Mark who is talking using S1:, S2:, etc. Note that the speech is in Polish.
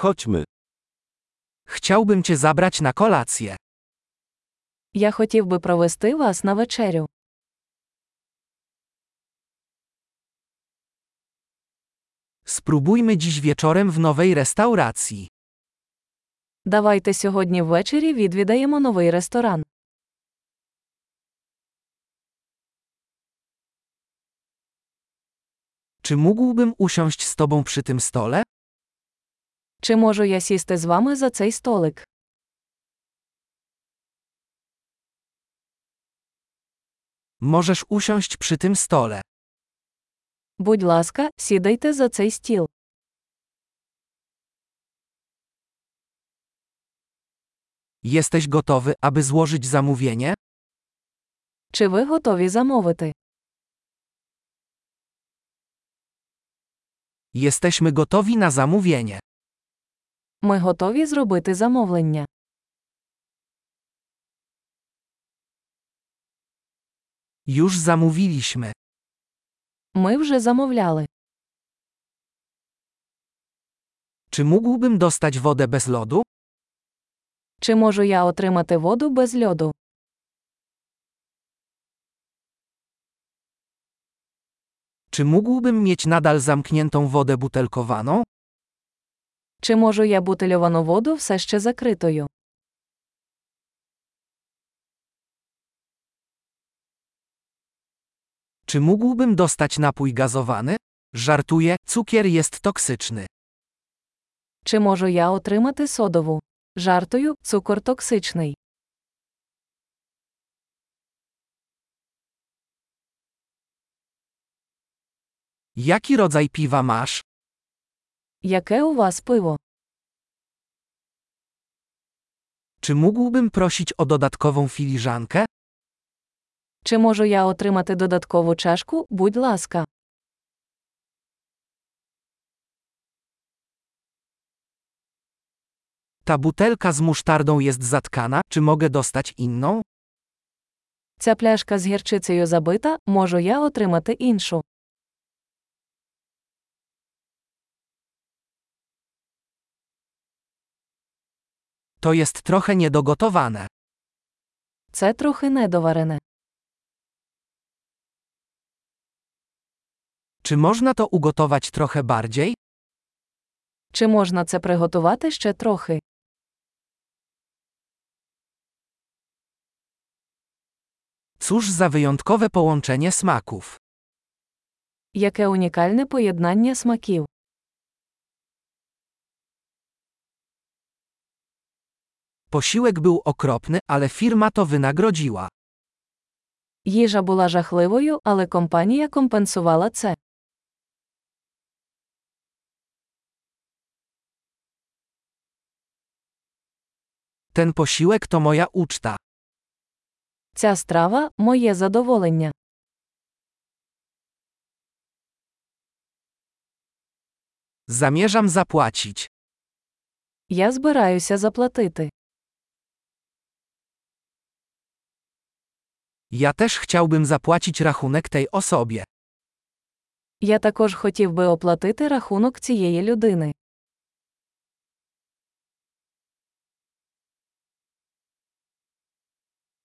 S1: Chodźmy. Chciałbym cię zabrać na kolację.
S2: Я хотів би провести вас на вечерю.
S1: Spróbujmy dziś wieczorem w nowej restauracji.
S2: Давайте сьогодні ввечері відвідаємо новий ресторан.
S1: Czy mógłbym usiąść z tobą przy tym stole?
S2: Чи можу я сісти з вами за цей столик?
S1: Możesz usiąść przy tym stole.
S2: Будь ласка, сідайте за цей стіл.
S1: Jesteś gotowy, aby złożyć zamówienie?
S2: Чи ви готові замовити?
S1: Jesteśmy gotowi na zamówienie.
S2: Ми готові зробити замовлення.
S1: Już zamówiliśmy.
S2: Ми вже замовляли.
S1: Czy mógłbym dostać wodę bez lodu?
S2: Чи можу я отримати воду без льоду?
S1: Czy mógłbym mieć nadal zamkniętą wodę butelkowaną?
S2: Чи можу я бутильовану воду все ще закритою?
S1: Czy mógłbym dostać napój gazowany? Żartuję, cukier jest toksyczny.
S2: Чи можу я отримати содову? Жартою, цукор токсичний.
S1: Jaki rodzaj piwa masz?
S2: Яке у вас пиво?
S1: Czy mógłbym prosić o dodatkową filiżankę?
S2: Чи можу я отримати додаткову чашку, будь ласка.
S1: Ta butelka z musztardą jest zatkana, czy mogę dostać inną?
S2: Ця пляшка з гірчицею забита, можу я отримати іншу.
S1: To jest trochę niedogotowane.
S2: Це трохи недоварене.
S1: Czy można to ugotować trochę bardziej?
S2: Чи можна це приготувати ще трохи?
S1: Cóż za wyjątkowe połączenie smaków.
S2: Яке унікальне поєднання смаків.
S1: Posiłek był okropny, ale firma to wynagrodziła.
S2: Їжа була жахливою, але компанія компенсувала це.
S1: Ten posiłek to moja uczta.
S2: Ця страва моє задоволення.
S1: Zamierzam zapłacić.
S2: Я збираюся заплатити.
S1: Ja też chciałbym zapłacić rachunek tej osobie.
S2: Я також хотів би оплатити рахунок цієї людини.